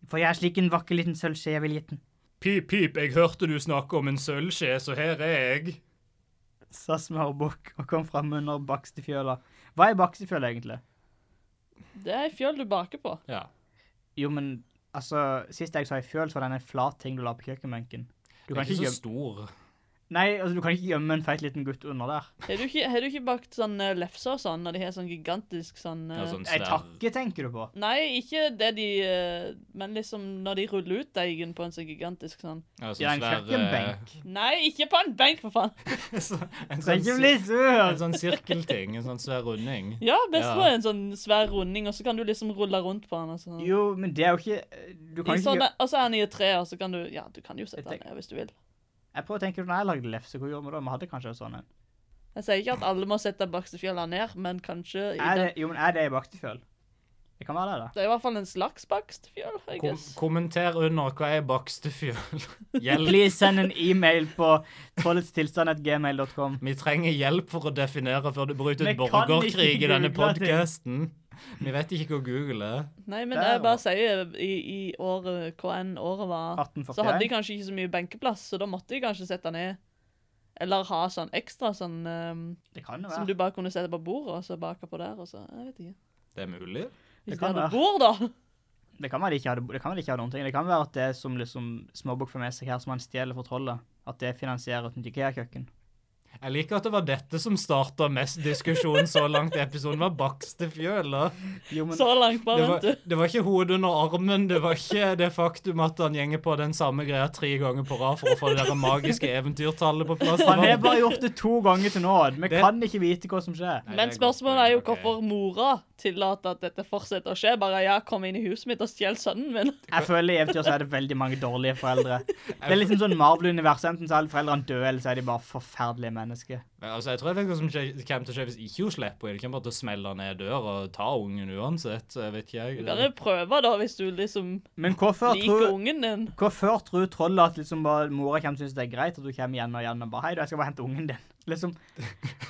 For jeg er slik en vakker liten sølvskje jeg ville gitt den.
Pip, pip, jeg hørte du snakke om en sølvskje, så her er jeg.
Sa smørbukk og kom fram under bakstefjøla. Hva er bakstefjøla, egentlig?
Det er ei fjøl du baker på.
Ja.
Jo, men altså Sist jeg så ei fjøl, så var det en flat ting du la på kjøkkenbenken. Du
Du
kan
er
ikke
ikke så
gjemme
stor.
Nei, altså, du kan ikke gjemme en feit liten gutt under der.
Har du ikke, har du ikke bakt sånn eh, lefse og sånn, når de har sånn gigantisk sånn eh,
Ja, sånn
Ei
svær.
takke, tenker du på?
Nei, ikke det de eh, Men liksom når de ruller ut deigen på en sånn gigantisk sånn
I
Ja,
en
sånn svær eh,
kjøkkenbenk.
Nei, ikke på en benk, for faen!
så- en sånn
Trenger ikke
sir-
bli
En
sur! altså.
sånn sirkelting. En sånn svær runding.
Ja, best
Ja.
på en sånn svær runding, og så kan du liksom rulle rundt på den. Og sånn.
Jo, men det er jo ikke Du
I
kan ikke gjøre
sånne- Sånn og så er han i et tre, og så kan du Ja, du kan jo sette
Jeg
den ned hvis du vil.
Jeg prøver å tenke når jeg lagde lefse, hvor gjorde vi da? Vi hadde kanskje en sånn en.
Jeg sier ikke at alle må sette bakstefjella ned, men kanskje i
Er det,
den,
jo, men er det i bakstefjøl? Det kan være det, da.
Det er i hvert fall en slags bakstefjell, I
Kom,
guess.
kommenter under hva er bakstefjøl. Hjelp.
Please send en e-mail på trolletstilstand.gmail.com.
Vi trenger hjelp for å definere før det bryter ut
Vi kan ikke
borgerkrig i denne
google ting.
podkasten. Vi vet ikke hvor Google er.
Nei, men
Der
jeg bare
var-
sier i, i året hva enn året var, så hadde
1841.
de kanskje ikke så mye benkeplass, så da måtte de kanskje sette ned. Eller ha sånn ekstra sånn ehm,
Det kan jo
som du
være.
bare kunne sette på bordet, og så bake på der, og så Jeg vet ikke.
Det er mulig.
Det
Hvis de
kan
hadde bord, da!
Det kan være de ikke hadde, det kan være de ikke hadde noen ting. Det kan være at det som liksom småbukk får med seg her, som han stjeler fra trollet, at det finansierer et nytt IKEA-kjøkken.
Jeg liker at det var dette som starta mest diskusjon så langt i episoden, var bakstefjøla.
Jo, men
Så langt,
Det
bare
var,
vent, du.
det var ikke hodet under armen, det var ikke det faktum at han gjenger på den samme greia tre ganger på rad for å få det der magiske eventyrtallet på plass. Det
Han har
var-
bare gjort det to ganger til nå. Vi
Det-
kan ikke vite hva som skjer.
Nei, det
Men
er et godt
spørsmålet er jo
poeng, ok.
hvorfor mora tillater at dette fortsetter å skje. Bare ja, kom inn i huset mitt og stjel sønnen min.
Jeg føler i eventyr så er det veldig mange dårlige foreldre. Det er liksom sånn Marvel-universet. Enten så er alle foreldrene døde, eller så er de bare forferdelige mennesker.
Men altså, jeg tror jeg vet hva som skje- kommer til å skje hvis ikke hun slipper henne. Det kommer bare til å smelle ned døra og ta ungen uansett. så Jeg vet ikke,
Du
jeg.
kan jo prøve, da, hvis du liksom
Men hvorfor
liker
tror,
ungen din.
hvorfor tror trollet at liksom bare mora kommer til å synes det er greit at du kommer igjen og igjen og bare Hei, du, jeg skal bare hente ungen din. Liksom.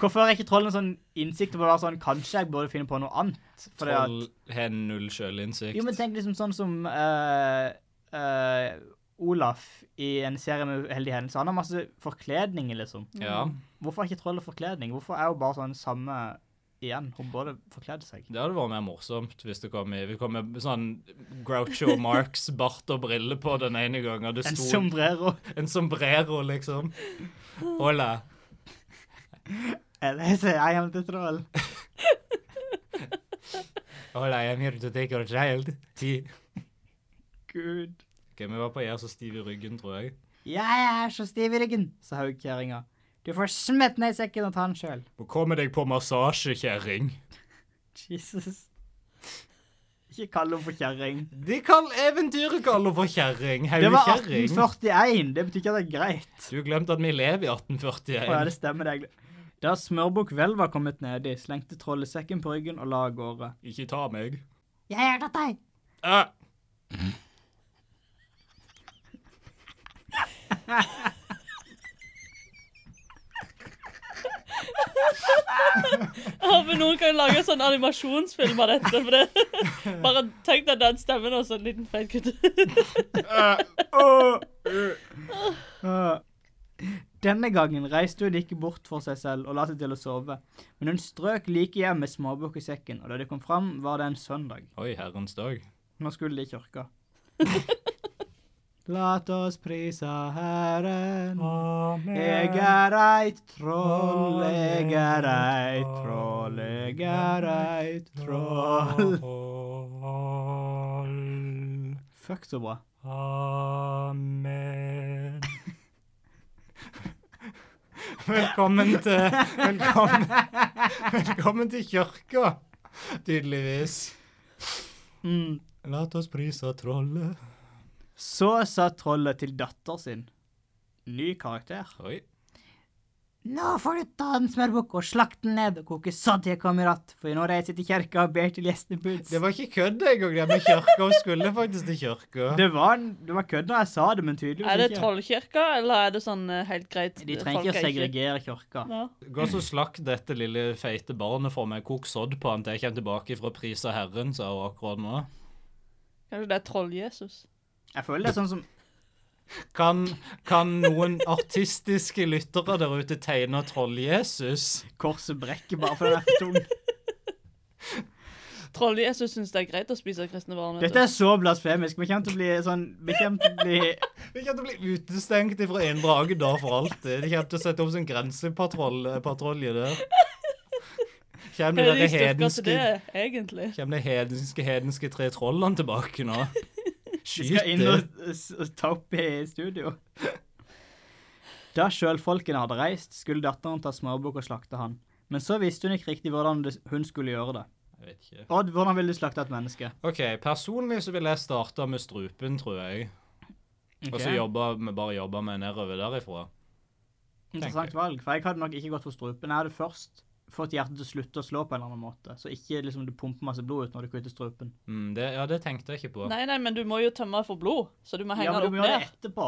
Hvorfor har ikke trollet en sånn innsikt på å være sånn Kanskje jeg burde finne på noe annet? Fordi at,
Troll har null sjølinnsikt.
jo, men tenk liksom sånn som eh, eh, Olaf i en serie med uheldige hendelser. Han har masse forkledninger, liksom.
Ja,
Hvorfor er ikke trollet forkledning? Hvorfor er hun bare sånn samme igjen? Hun burde forkledd seg.
det hadde vært mer morsomt hvis det kom i Vi kom med sånn Groucho Marx, bart og briller på den ene gangen. Det
En
sto
sombrero.
en sombrero, liksom. Hola.
Eller så er han til troll.
Hola, I'm here to take your child. Ti.
Gud.
Ok, Vi var på jeg er så stiv i ryggen, tror jeg.
Jeg er så stiv i ryggen, sa haugkjerringa. Du får smette ned i sekken og ta den sjøl.
Må komme deg på massasje, kjerring.
Jesus. Ikke kall henne for kjerring.
De kall eventyret kaller for kjerring.
Det var
Haugekjerring.
1841. Det betyr ikke at det er greit.
Du glemte at vi lever i
Å ja, det
1841.
stemmer, det. egentlig. Da smørbukk vel var kommet nedi, slengte trollet sekken på ryggen og la av gårde.
Ikke ta meg.
Jeg har tatt deg!
Ah.
Ja, men Noen kan jo lage en sånn animasjonsfilm av dette. For det. Bare tenk deg den stemmen og så en liten feit gutt.
Ah.
Åh, Ah. Denne gangen reiste hun ikke bort for seg selv og la seg til å sove, men hun strøk like hjem med småbukk i sekken, og da de kom fram, var det en søndag.
Oi, herrens dag.
Nå skulle de i kirka. Lat oss prisa Herren. Jeg er eit troll, jeg er eit troll, jeg er eit troll. Fuck, så bra.
Amen. Velkommen til Velkommen, velkommen til kirka, tydeligvis.
Mm.
La oss prise trollet.
Så sa trollet til datter sin. Ny karakter.
Oi.
Nå får du ta den smørbukk og slakte den ned og koke sånn til jeg kommer att, for nå reiser jeg til kjerka og ber til gjestene puts.
Det var ikke kødd engang, det med kirka. Hun skulle faktisk til kirka.
Det var, en- det var kødd når jeg sa det, men
Er
tydeligvis
det
ikke.
trollkirka, eller er det sånn eh, helt greit
De trenger ikke å
folk er
segregere kirka.
Ja.
Gå så slakt dette lille feite barnet for meg. Kok sodd på han til jeg kommer tilbake fra prisa Herren, sa hun akkurat nå.
Kanskje det er Troll-Jesus.
Jeg føler det er sånn som
Kan, kan noen artistiske lyttere der ute tegne Troll-Jesus?
korset brekker bare fordi den er for tung.
Troll-Jesus syns det er greit å spise kristne barn. vet
Dette
du.
er så blasfemisk. Vi kommer til å bli sånn Vi kommer til å bli
Vi kommer til å bli utestengt fra Indre Agder for alltid. De kommer til å sette opp sin grensepatrolje der.
sånn
Kommer
Hva
de
er
der
de styrker til det,
hedenske,
egentlig?
kommer de hedenske, hedenske tre trollene tilbake nå?
Vi skal
Skyt
inn
det.
og, s- og ta opp i studio. Da sjølfolkene hadde reist, skulle datteren ta smørbukk og slakte han. Men så visste hun ikke riktig hvordan det, hun skulle gjøre det.
Jeg vet ikke.
Odd, hvordan vil du slakte et menneske?
OK, personlig så ville jeg starta med strupen, tror jeg. Og så
Ok,
jobba, bare jobba meg nedover derifra.
Interessant valg, for jeg hadde nok ikke gått for strupen. Jeg hadde først fått hjertet til å slutte å slå på en eller annen måte, så ikke liksom du pumper masse blod ut når du kutter strupen.
Mm, det, ja, det tenkte jeg ikke på.
Nei, nei, men du må jo tømme for blod, så du må henge
Ja, men du
det opp
må gjøre det
ned.
etterpå.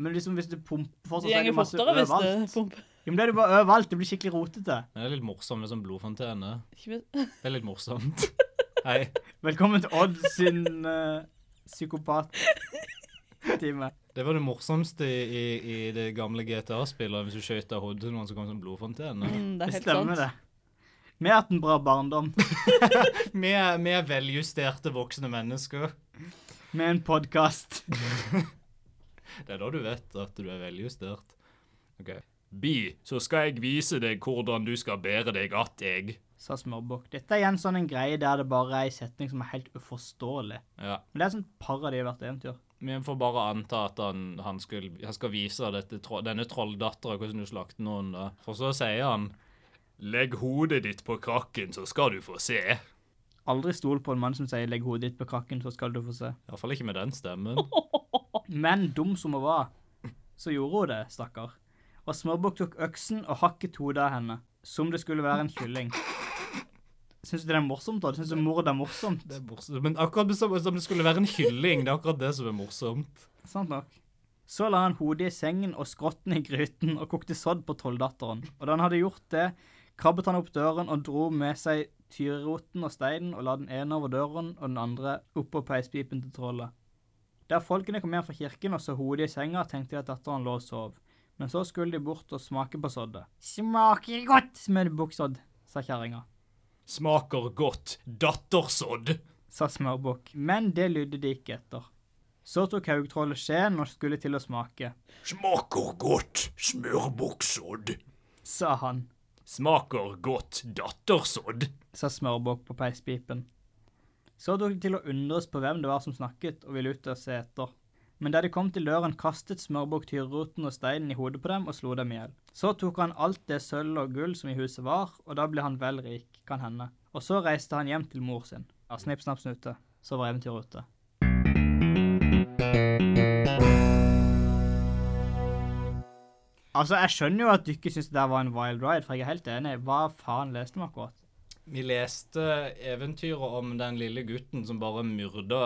Men liksom hvis du pumper fortsatt, så
Det
er det
gjenger
masse
fortere hvis det
overalt.
pumper.
Jo, men det er det bare overalt. Det blir skikkelig rotete.
Men det er litt morsomt med sånn blodfontene.
Ikke hvis-
Det er litt morsomt. Hei.
Velkommen til Odd sin uh, psykopat-time.
Det var det morsomste i, i, i det gamle GTA-spillet, hvis du skjøt av hodet til noen som kom som blodfontene.
Mm, det er
Det
helt
stemmer
sant.
det. Vi har hatt en bra barndom
Med, med veljusterte voksne mennesker.
med en podkast.
Det er da du vet at du er veljustert. OK.
Bi, så skal jeg vise deg hvordan du skal bære deg att jeg.
Sa Smørbukk. Dette er igjen sånn en greie der det bare er ei setning som er helt uforståelig.
Ja.
Men det er sånn parodi i hvert eventyr.
Vi får bare anta at han, han, skulle, han skal vise dette, tro- denne trolldattera hvordan du slakter noen, da. For så sier han
Legg hodet ditt på krakken, så skal du få se.
Aldri stol på en mann som sier 'legg hodet ditt på krakken, så skal du få se'.
Iallfall ikke med den stemmen.
Men dum som hun var, så gjorde hun det, stakkar. Og Smørbukk tok øksen og hakket hodet av henne, som det skulle være en kylling. Syns du det er morsomt, da? Syns du mord er morsomt?
Det er morsomt. Men akkurat som, som det skulle være en kylling, det er akkurat det som er morsomt.
Sant nok. Så la han hodet i sengen og skrotten i gryten og kokte sodd på trolldatteren. Og da han hadde gjort det, krabbet han opp døren og dro med seg tyroten og steinen og la den ene over døren og den andre oppå peispipen til trollet. Der folkene kom hjem fra kirken og så hodet i senga, tenkte de at datteren lå og sov. Men så skulle de bort og smake på soddet.
Smaker godt!
Smørbukksodd, sa kjerringa.
Smaker godt. Dattersodd.
sa smørbukk. Men det lydde de ikke etter. Så tok haugtrollet skjeen og skulle til å smake,
Smaker godt. Smørbukksodd.
sa han.
Smaker godt. Dattersodd.
sa smørbukk på peispipen. Så tok de til å undres på hvem det var som snakket, og ville ut og se etter. Men da de kom til døren, kastet smørbukk tyroten og steinen i hodet på dem og slo dem i hjel. Så tok han alt det sølv og gull som i huset var, og da ble han vel rik, kan hende. Og så reiste han hjem til mor sin. Ja, snipp, snapp, snute. Så var eventyret ute. Altså, jeg skjønner jo at du ikke syns det der var en wild ride, for jeg er helt enig. Hva faen leste vi akkurat?
Vi leste eventyret om den lille gutten som bare myrda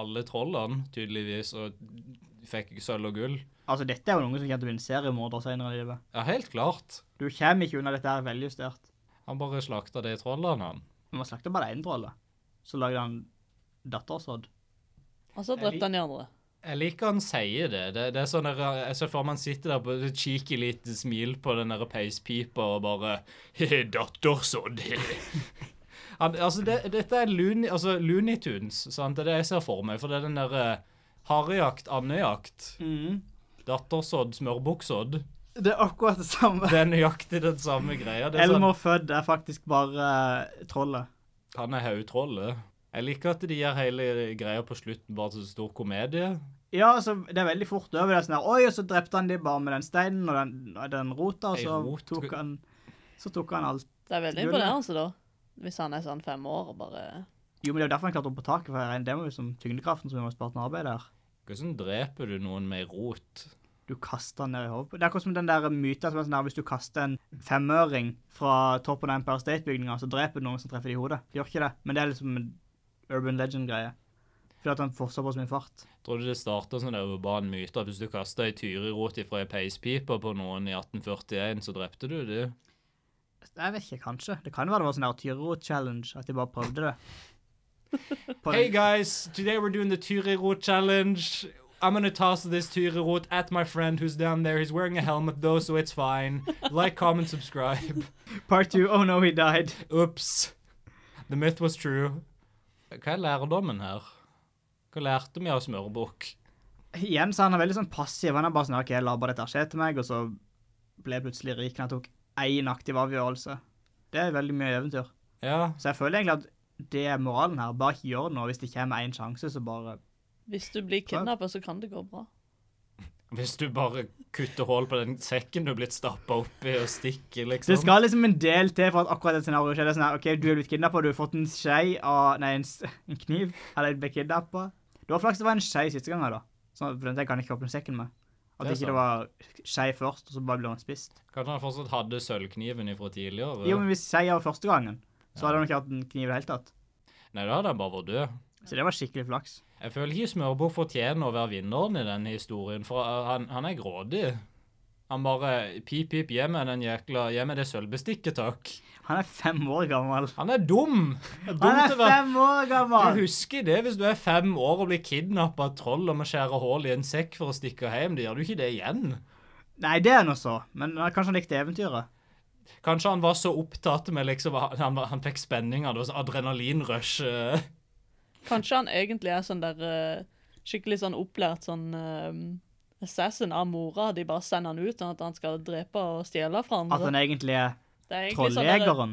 alle trollene, tydeligvis, og fikk sølv og gull.
Altså, dette er jo noen som kommer til å bli en seriemorder senere i livet.
Ja, helt klart.
Du kommer ikke unna dette her veljustert.
Han bare slakta de trollene, han.
Men man slakter bare én troll, da. Så lagde han dattersodd.
Og så drepte han de andre.
Jeg liker han sier det. det, det er sånn der, jeg ser for meg han sitter der på et cheeky lite smil på den der peispipa og bare He, datter, så det. Han, altså, det, dette er Looney, altså, Looney Tunes, sant? Det er det jeg ser for meg. For det er den der eh, harejakt, andejakt, dattersodd, smørbuksodd.
Mhm. Det er akkurat det samme.
Det er nøyaktig den samme greia. Det er sånn,
Elmer Fudd er faktisk bare eh, trollet.
han er haugtrollet. Jeg liker at de gjør hele greia på slutten bare til en stor komedie.
Ja, altså, det er veldig fort over. Det er sånn her, Oi, og så drepte han de bare med den steinen og den, og den rota, og
Ei
så
rot.
tok han Så tok han alt.
Det er veldig
Gull, ja.
imponerende, altså, da. Hvis han er sånn fem år og bare
Jo, men det er jo derfor han klarte opp på taket, for jeg regner det med liksom, tyngdekraften som gjør spart en arbeid der.
Hvordan dreper du noen med rot?
Du kaster den ned i hodet. på- Det er akkurat som den der myten som er sånn her, hvis du kaster en femøring fra toppen av Empire State-bygninga, så dreper du noen som treffer det i hodet. Det gjør ikke det, men det er liksom en urban legend-greie. Fordi at han får såpass mye fart.
Tror du det starta sånn der urban myte at hvis du kasta ei tyrirot ifra ei peispipe på noen i 1841, så drepte du dem?
Jeg vet ikke, kanskje. Det kan jo være det var sånn her Tyrot-challenge, at de bare prøvde det. På
Hey
den-
guys, today we're doing the tyrirot challenge. I'm gonna toss this tyrirot at my friend who's down there. He's wearing a helmet though, so it's fine. Like, comment, subscribe.
Part two, oh no, he died.
Oops. The myth was true. Hva er lærdommen her? Hva lærte vi av smørbukk?
Igjen så er han er veldig sånn passiv. Han er bare sånn OK, la bare dette skje til meg, og så ble jeg plutselig rik når jeg tok én aktiv avgjørelse. Det er veldig mye eventyr.
Ja,
Så jeg føler egentlig at det er moralen her. Bare ikke gjør noe. Hvis det kommer én sjanse, så bare
Hvis du blir kidnappa, så kan det gå bra.
hvis du bare kutter hull på den sekken du er blitt stappa oppi, og stikker, liksom.
Det skal liksom en del til for at akkurat det scenarioet skjer. Det er sånn her, OK, du er blitt kidnappa, du har fått en skei av Nei, en, s- en kniv. Eller ble kidnappa. Det var flaks det var en skei siste gangen, da. sånn Så for den tenker han ikke åpne sekken med. At
Det er
det ikke det var skei først, og så bare ble han spist.
Kanskje han fortsatt hadde sølvkniven fra tidligere?
Jo, men hvis skei var første gangen, så hadde han ikke hatt en kniv i det hele tatt.
Nei, da hadde han bare vært død.
Så det var skikkelig flaks.
Jeg føler ikke Smørbo fortjener å være vinneren i denne historien, for uh, han, han er grådig. Han bare pip, pip, gi meg den jækla Gi meg det sølvbestikket, takk.
Han er fem år gammel.
Han er dum! Han er, dum
Han er
til å være-
fem år
Du
gammel!
husker det hvis du er fem år og blir kidnappa av troll og må skjære hull i en sekk for å stikke hjem. Det gjør du ikke det igjen.
Nei, det er nå så, men han- kanskje han likte eventyret.
Kanskje han var så opptatt med liksom Han, han, var- han fikk spenninga. Det var sånn adrenalinrush. eh.
Kanskje han egentlig er sånn der eh, skikkelig sånn opplært sånn eh, assassin av mora. De bare sender han ut sånn at han skal drepe og stjele fra
At han
andre.
egentlig er
Det er egentlig sånn der-
trolljegeren.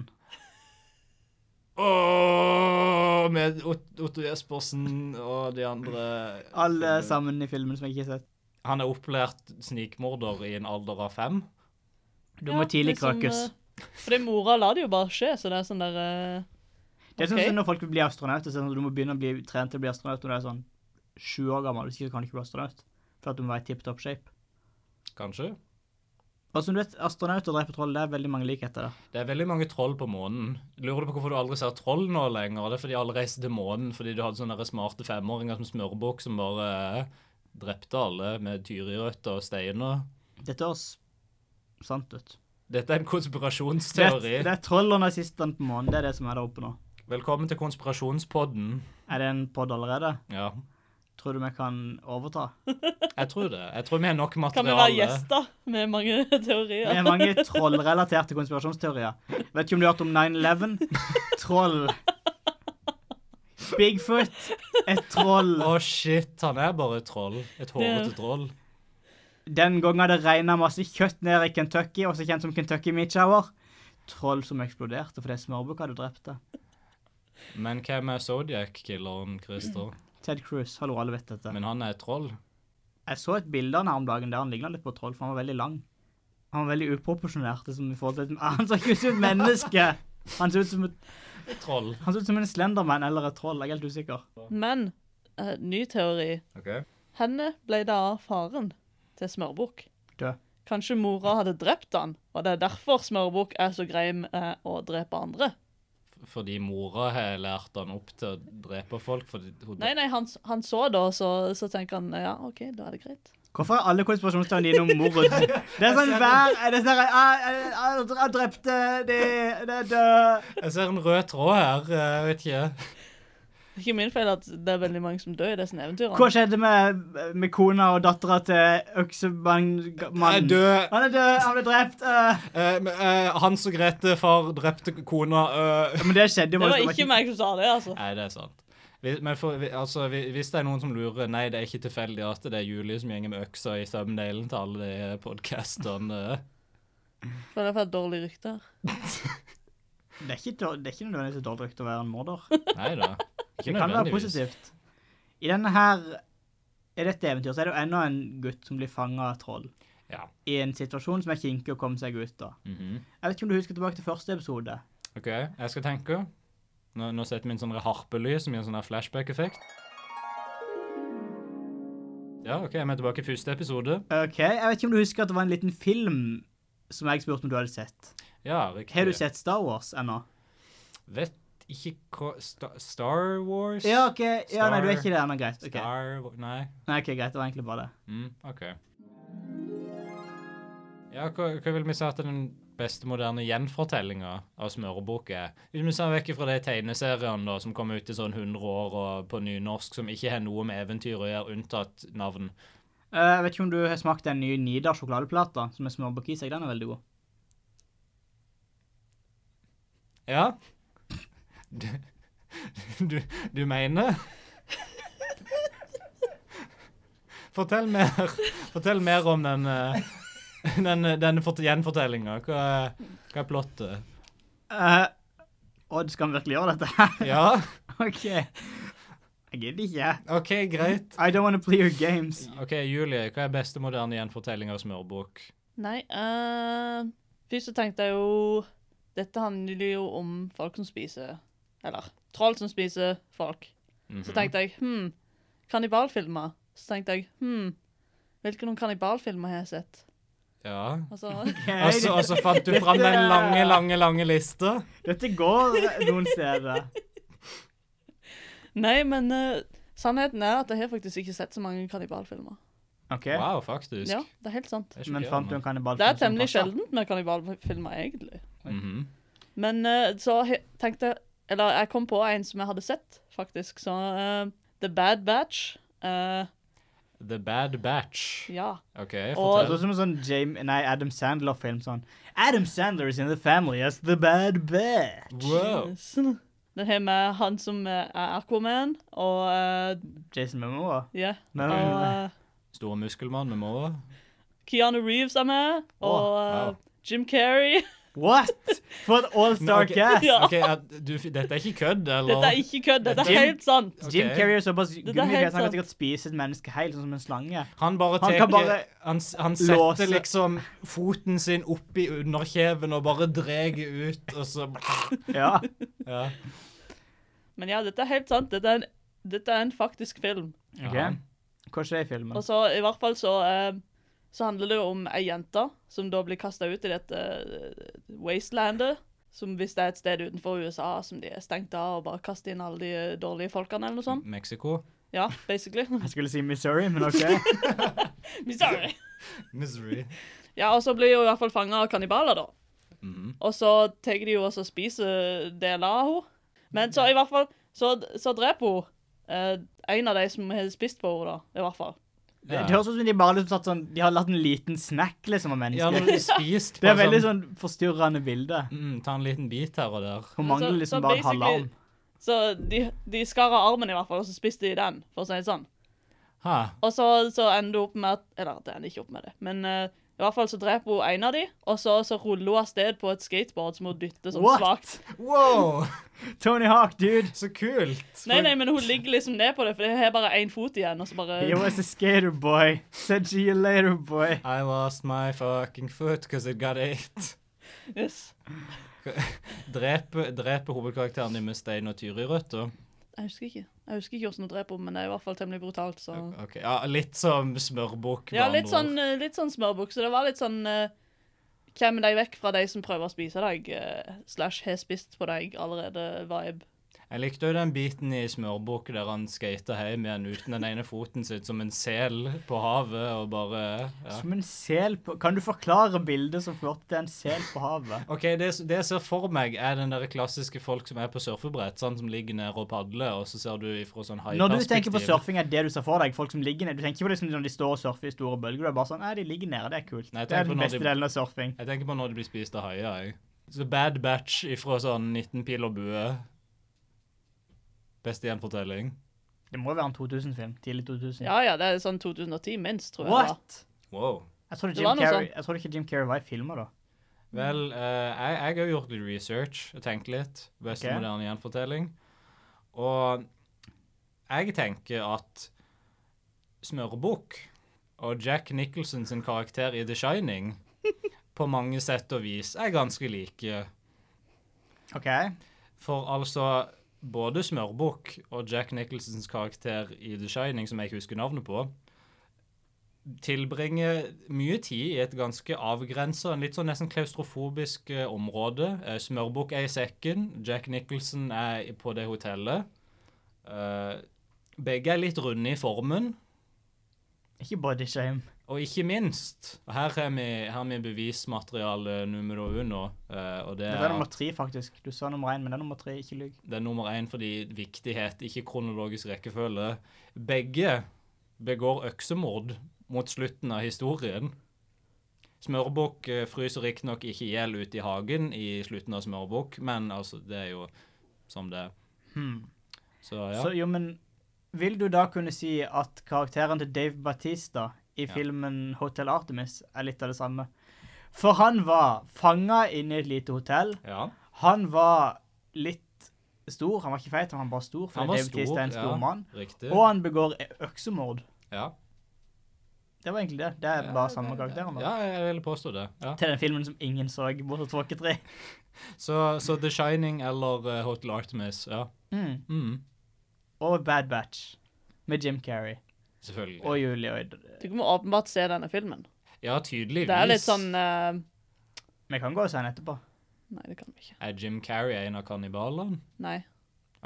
Åh, med Ot- Otto Jespersen og de andre
Alle sammen i filmen som jeg ikke har sett.
Han er opplært snikmorder i en alder av fem.
Du
Ja,
må tidlig
liksom,
krøkes.
eh, Fordi mora lar det jo bare skje, så det er sånn der eh,
Det er sånn
ok.
som når folk vil bli astronauter, så er det sånn at du må begynne å bli trent til å bli astronaut når du er sånn sju år gammel, hvis ikke så kan du ikke bli astronaut. For at du må være i tipp topp shape.
Kanskje.
Og som du vet, astronauter dreper troll, det er veldig mange likheter der.
Det er veldig mange troll på månen. Lurer du på hvorfor du aldri ser troll nå lenger? Det er fordi alle reiser til månen fordi du hadde sånne der smarte femåringer som smørbukk som bare eh, drepte alle med tyrirøtter og steiner.
Dette høres sant ut.
Dette er en
Det er,
konspirasjonsteori.
det er troll og nazistene på månen, det er det som er der oppe nå.
Velkommen til konspirasjonspodden.
Er det en pod allerede?
Ja,
Tror du vi kan overta?
jeg tror det. Jeg tror vi har nok
Kan vi være
materiale.
gjester med mange
Det
teorier?
er mange trollrelaterte konspirasjonsteorier. Vet ikke om du har hørt om 9-11? Troll. Bigfoot. Et troll.
Å, shit. Han er bare et troll. Et hårete troll.
Den gangen hadde regna masse kjøtt ned i Kentucky, også kjent som Kentucky Meat Shower. Troll som eksploderte fordi smørbukk hadde drept det.
Men hvem er Zodiac-killeren, Christer?
Ted Cruz, hallo, alle vet dette.
Men han er et troll.
Jeg så et bilde av han her om dagen der han ligna litt på troll, for han var veldig lang. Han var veldig uproporsjonert. Liksom, i forhold til, han så ikke ut som et menneske! Han så ut som, et,
Et troll.
han så ut som en slenderman eller et troll, jeg er helt usikker.
Men eh, ny teori.
Okay.
Henne ble det av faren til Smørbukk.
Død.
Kanskje mora hadde drept han, og det er derfor Smørbukk er så grei med eh, å drepe andre.
Fordi mora har lært han opp til å drepe folk. Fordi hun
Nei, nei, han, han så da, så, så tenker han ja, OK, da er det greit.
Hvorfor er alle konspirasjonsteoriene dine om mord? Det er sånn hver det er sånn, jeg, jeg, jeg, jeg drepte de, de, de.
Jeg ser en rød tråd her. Jeg vet eh, ikke.
Det er ikke min feil at det er veldig mange som dør i disse
Hva
eventyrene.
skjedde med, med kona og dattera til
Nei,
Øksemannen?
Eh, død.
Han er død, han ble drept. eh.
Eh, men, eh, Hans og Grete, far drepte kona. eh.
Men det skjedde jo.
Det var
faktisk-
ikke meg som sa det, altså.
Nei, det er sant. Vi- Men for, vi- altså, vi- hvis det er noen som lurer Nei, det er ikke tilfeldig at det er Julie som gjenger med øksa i thumbnailen til alle de eh, podcastene. eh.
Føler jeg får et dårlig rykte her.
Det er ikke, dår- det er ikke nødvendigvis et dårlig rykte å være en morder.
Nei da. Ikke
Det kan være
nødvendigvis.
positivt. I denne her, i dette eventyret så er det jo enda en gutt som blir fanga av troll.
Ja.
I en situasjon som er kinkig å komme seg ut av.
Mhm.
Jeg vet ikke om du husker tilbake til første episode.
OK, jeg skal tenke. Nå, nå setter vi inn sånn der harpelys som gir en sånn der flashback-effekt. Ja, OK, vi er tilbake i første episode.
Ok, Jeg vet ikke om du husker at det var en liten film som jeg spurte om du hadde sett.
Ja, riktig.
Har du sett Star Wars ennå?
Vet ikke hva Sta Star Wars?
Ja, ok. Ja, nei, du er
Star-
ikke det ennå. Greit. ok.
Star Wa- Nei.
Nei, ok, greit. Det var egentlig bare det.
Mm, OK. Ja, hva, hva vil vi si at er den beste moderne gjenfortellinga av smørebukk er? Hvis vi ser vekk fra de tegneseriene da, som kom ut i sånn 100 år og på nynorsk, som ikke har noe med eventyr å gjøre, unntatt navn.
Eh, Jeg vet ikke om du har smakt den nye Nidar sjokoladeplata som er smørbakk i seg. Den er veldig god.
Ja? Du, du, du mener? Fortell mer, fortell mer om den, eh, den, denne fort- gjenfortellinga. Hva, er- hva er plottet?
Eh, Odd, skal han virkelig gjøre dette her?
Ja,
OK. Jeg gidder ikke.
OK, greit.
I don't want to play your games.
OK, Julie, hva er beste moderne gjenfortelling av smørbukk?
Nei, eh, først så tenkte jeg jo Dette handler jo om folk som spiser Eller troll som spiser folk.
Mhm.
Så tenkte jeg hm, kannibalfilmer. Så tenkte jeg hm, hvilke noen kannibalfilmer har jeg sett?
Ja.
Altså,
Og så og så fant du fram den lange, lange, lange lista?
Dette går noen steder.
nei, men eh, sannheten er at jeg har faktisk ikke sett så mange kannibalfilmer.
OK,
Wow, faktisk.
Ja, det er helt sant.
Det er
men fant du en
sjokkerende.
kannibal?
Det er temmelig sjeldent med kannibalfilmer, egentlig.
Mhm.
Men eh, så he- tenkte jeg Eller jeg kom på en som jeg hadde sett, faktisk. Så eh, The Bad Batch. eh,
The Bad Batch.
ja. Og-
OK,
Det
fortell.
er som en sånn James, nei, Adam Sandler-film. sånn. Adam Sandler is in the family as the bad bear.
Wow.
Sånn. Den har med han som eh, er Aquaman, og eh,
Jason Momoa.
ja.
Men,
Og eh,
Store muskelmann med måre.
Keanu Reeves er med, og eh,
wow.
Jim Carrey.
What?! For et all-star
Ok,
cast!
Ja.
ok, at du, dette er ikke kødd, eller?
Dette er ikke kødd, dette
Jim-
er helt sant.
Ok.
Jim Carrey er såpass
er
gummifjes, han
helt
kan
sant.
sikkert spise et menneske helt, sånn som en slange.
Han bare
Han
teker,
kan
han,
bare
han, setter
låse.
liksom foten sin oppi underkjeven og bare dreger ut, og så
Ja.
ja.
Men ja, dette er helt sant. Dette er en, dette er en faktisk film.
Ok.
Ja.
Hva skjer i filmen?
Og så i hvert fall så, eh, så handler det jo om ei jente som da blir kasta ut i dette eh, wastelandet. Som hvis det er et sted utenfor USA som de er stengt av og bare kaster inn alle de eh, dårlige folkene eller noe sånt.
Mexico.
Ja, basically.
Jeg skulle si Missouri, men OK.
Sorry.
Misery.
Ja, og så blir hun i hvert fall fanga av kannibaler, da.
Mhm.
Og så tar de jo og så spiser deler av henne. Men så i hvert fall så, så dreper hun eh, en av de som har spist på henne, da. I hvert fall.
Det,
Ja.
det høres ut som de bare liksom satt sånn, de har latt en liten snack liksom av
Ja,
mennesker.
når du spist
Det
på
er veldig
sånn-
sånn forstyrrende bilde.
Mm, ta en liten bit her og der.
Hun
Men
mangler
så-
liksom
så
bare en
basically-
halvarm.
Så de, de skar av armen i hvert fall, og så spiste de den, for å si det sånn.
Ha.
Og så, så ender hun opp med at Eller det ender ikke opp med det, men eh, i hvert fall så dreper hun en av de, og så, så ruller hun av sted på et skateboard som hun dytter sånn
What?
svakt.
Wow,
Tony Hawk, dude!
så kult.
Nei, nei, men hun ligger liksom ned på det, for jeg har bare én fot igjen, og så bare
He was a skater boy. Said see you later, boy.
I lost my fucking foot because it got eight.
yes.
Drepe, drepe hovedkarakteren din med stein og tyr i røtter.
Jeg husker ikke. Jeg husker ikke hvordan hun dreper henne, men det er i hvert fall temmelig brutalt, så
Ok, ja, Litt som smørbukk. med
Ja,
andre
litt sånn,
ord.
eh, litt sånn smørbukse. Det var litt sånn eh, Klem deg vekk fra de som prøver å spise deg, eh, slash har spist på deg allerede-vibe.
Jeg likte jo den biten i smørbukk der han skater hjem igjen uten den ene foten sitt, som en sel på havet, og bare ja.
Som en sel på Kan du forklare bildet som førte til en sel på havet?
OK, det, det jeg ser for meg, er den der klassiske folk som er på surfebrett, sånn som ligger nede og padler, og så ser du ifra sånn
Når du tenker på
haiperspektiv.
surfing, er det du ser for deg folk som ligger ned. Du tenker ikke på liksom når de står og surfer i store bølger. Du er bare sånn Nei, de ligger nede, det er kult.
Nei, jeg
det er
tenker på
den
når
beste
de-
delen av surfing.
Jeg tenker på når de blir spist av haier, jeg. Så Bad Batch ifra sånn 19 pil og bue. Beste gjenfortelling.
Det må være en 2000-film. Tidlig 2000.
Ja, ja, det er sånn 2010 minst, tror jeg. det var.
What?!
Wow.
Jeg trodde,
Det
Jim
var noe
Carrey,
sånt.
jeg trodde ikke Jim Carrey var i filmer, da.
Vel, eh, jeg, jeg har gjort litt research og tenkt litt. Beste
Ok.
moderne gjenfortelling. Og jeg tenker at Smørbukk og Jack Nicholson sin karakter i The Shining på mange sett og vis er ganske like.
OK.
For altså både Smørbukk og Jack Nicholsons karakter i The Shining, som jeg ikke husker navnet på, tilbringer mye tid i et ganske avgrensa, litt sånn nesten klaustrofobisk eh, område. Eh, Smørbukk er i sekken, Jack Nicholson er i- på det hotellet. Eh, begge er litt runde i formen.
Ikke body shame.
Og ikke minst, og her har vi, her har vi bevismateriale numero uno, eh, og det
Dette
er
er nummer
at
tre, faktisk. Du sa nummer én, men det er nummer tre. Ikke lyv.
Det er nummer én fordi viktighet, ikke kronologisk rekkefølge. Begge begår øksemord mot slutten av historien. Smørbukk eh, fryser riktignok ikke i hjel ute i hagen i slutten av Smørbukk, men altså, det er jo som det er. Hmm. Så ja.
Så jo, men vil du da kunne si at karakteren til Dave Batista i filmen Hotel Artemis er litt av det samme? For han var fanga inne i et lite hotell.
ja.
Han var litt stor. Han var ikke feit, han var bare stor,
Han
for
var
Dave Batista
stor.
er en stor
ja,
mann.
Riktig.
Og han begår øksemord.
ja.
Det var egentlig det. Det er bare samme karakteren. da.
Ja, jeg vil påstå det. Ja.
Til den filmen som ingen så, bortsett fra dere tre.
Så, så The Shining eller eh, Hotel Artemis, ja.
Mm.
Mm.
Og Bad Batch med Jim Carrey
Selvfølgelig.
og Julie Oyd.
Du må åpenbart se denne filmen.
Ja, tydeligvis.
Det er litt sånn eh,
Vi kan gå og se den etterpå.
Nei, det kan vi ikke.
Er Jim Carrey en av kannibalene?
Nei.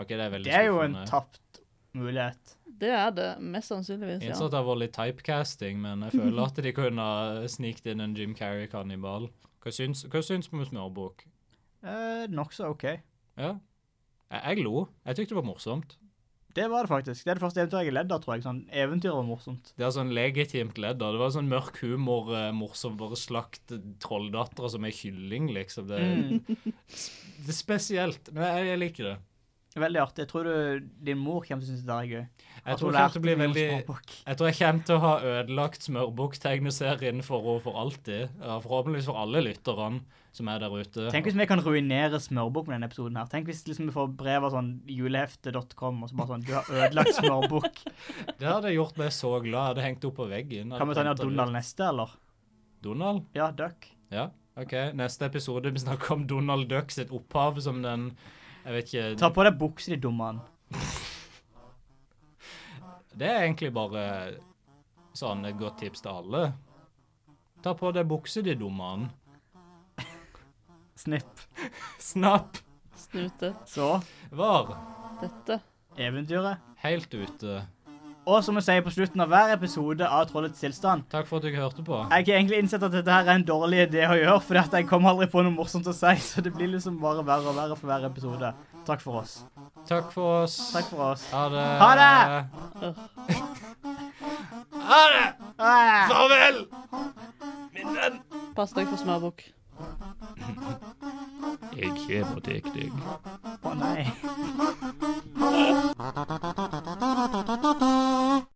Ok, det er veldig
Det er jo en
skuffende.
tapt mulighet.
Det er det mest sannsynligvis,
Jeg
ja.
Innså at det var litt typecasting, men jeg føler at de kunne ha snikt inn en Jim Carrey-kannibal. Hva syns, hva syns vi om smørbukk?
Eh, Nokså OK.
Ja. Jeg, jeg lo. Jeg tykte det var morsomt.
Det var det faktisk. Det er det første eventyret jeg ledd av, tror jeg. Sånn eventyr var morsomt.
Det er sånn legitimt ledd. da. Det var sånn mørk humor, eh, morsom, bare slakt trolldattera som ei kylling, liksom. Det,
Mm.
det er spesielt. Men jeg, jeg liker det.
Veldig artig. Jeg tror du, din mor kommer til å synes det er gøy.
Jeg
At
tror
hun
jeg kommer til å
lærte
bli
mye om
veldig
småbukk.
Jeg tror jeg kommer til å ha ødelagt smørbukk-tegneserien for henne for alltid. Ja, Forhåpentligvis for alle lytterne som er der ute.
Tenk hvis vi kan ruinere smørbukk med denne episoden her. Tenk hvis liksom vi får brev av sånn julehefte.com og så bare sånn Du har ødelagt smørbukk.
Det hadde gjort meg så glad. Jeg hadde hengt opp på veggen.
Kan vi ta ned Donald neste, eller?
Donald?
Ja, Duck.
Ja, ok. Neste episode vi snakker om Donald Duck sitt opphav som den Jeg vet ikke
Ta på deg buksa di, dummann.
Det er egentlig bare sånn et godt tips til alle. Ta på deg buksa di, dummann.
Snipp.
Snapp
Snute.
Så
var
Dette.
eventyret.
helt ute.
Og som vi sier på slutten av hver episode av Trollets tilstand
Takk for at du hørte på.
Jeg har egentlig innsett at dette her er en dårlig idé å gjøre, for jeg kom aldri på noe morsomt å si, så det blir liksom bare verre og verre for hver episode. Takk for oss.
Takk for oss.
Takk for oss.
Ha det.
Ha det!
Ha det!
Ah!
Farvel!
Pass deg for smørbukk.
Jeg kommer til deg.
Å nei.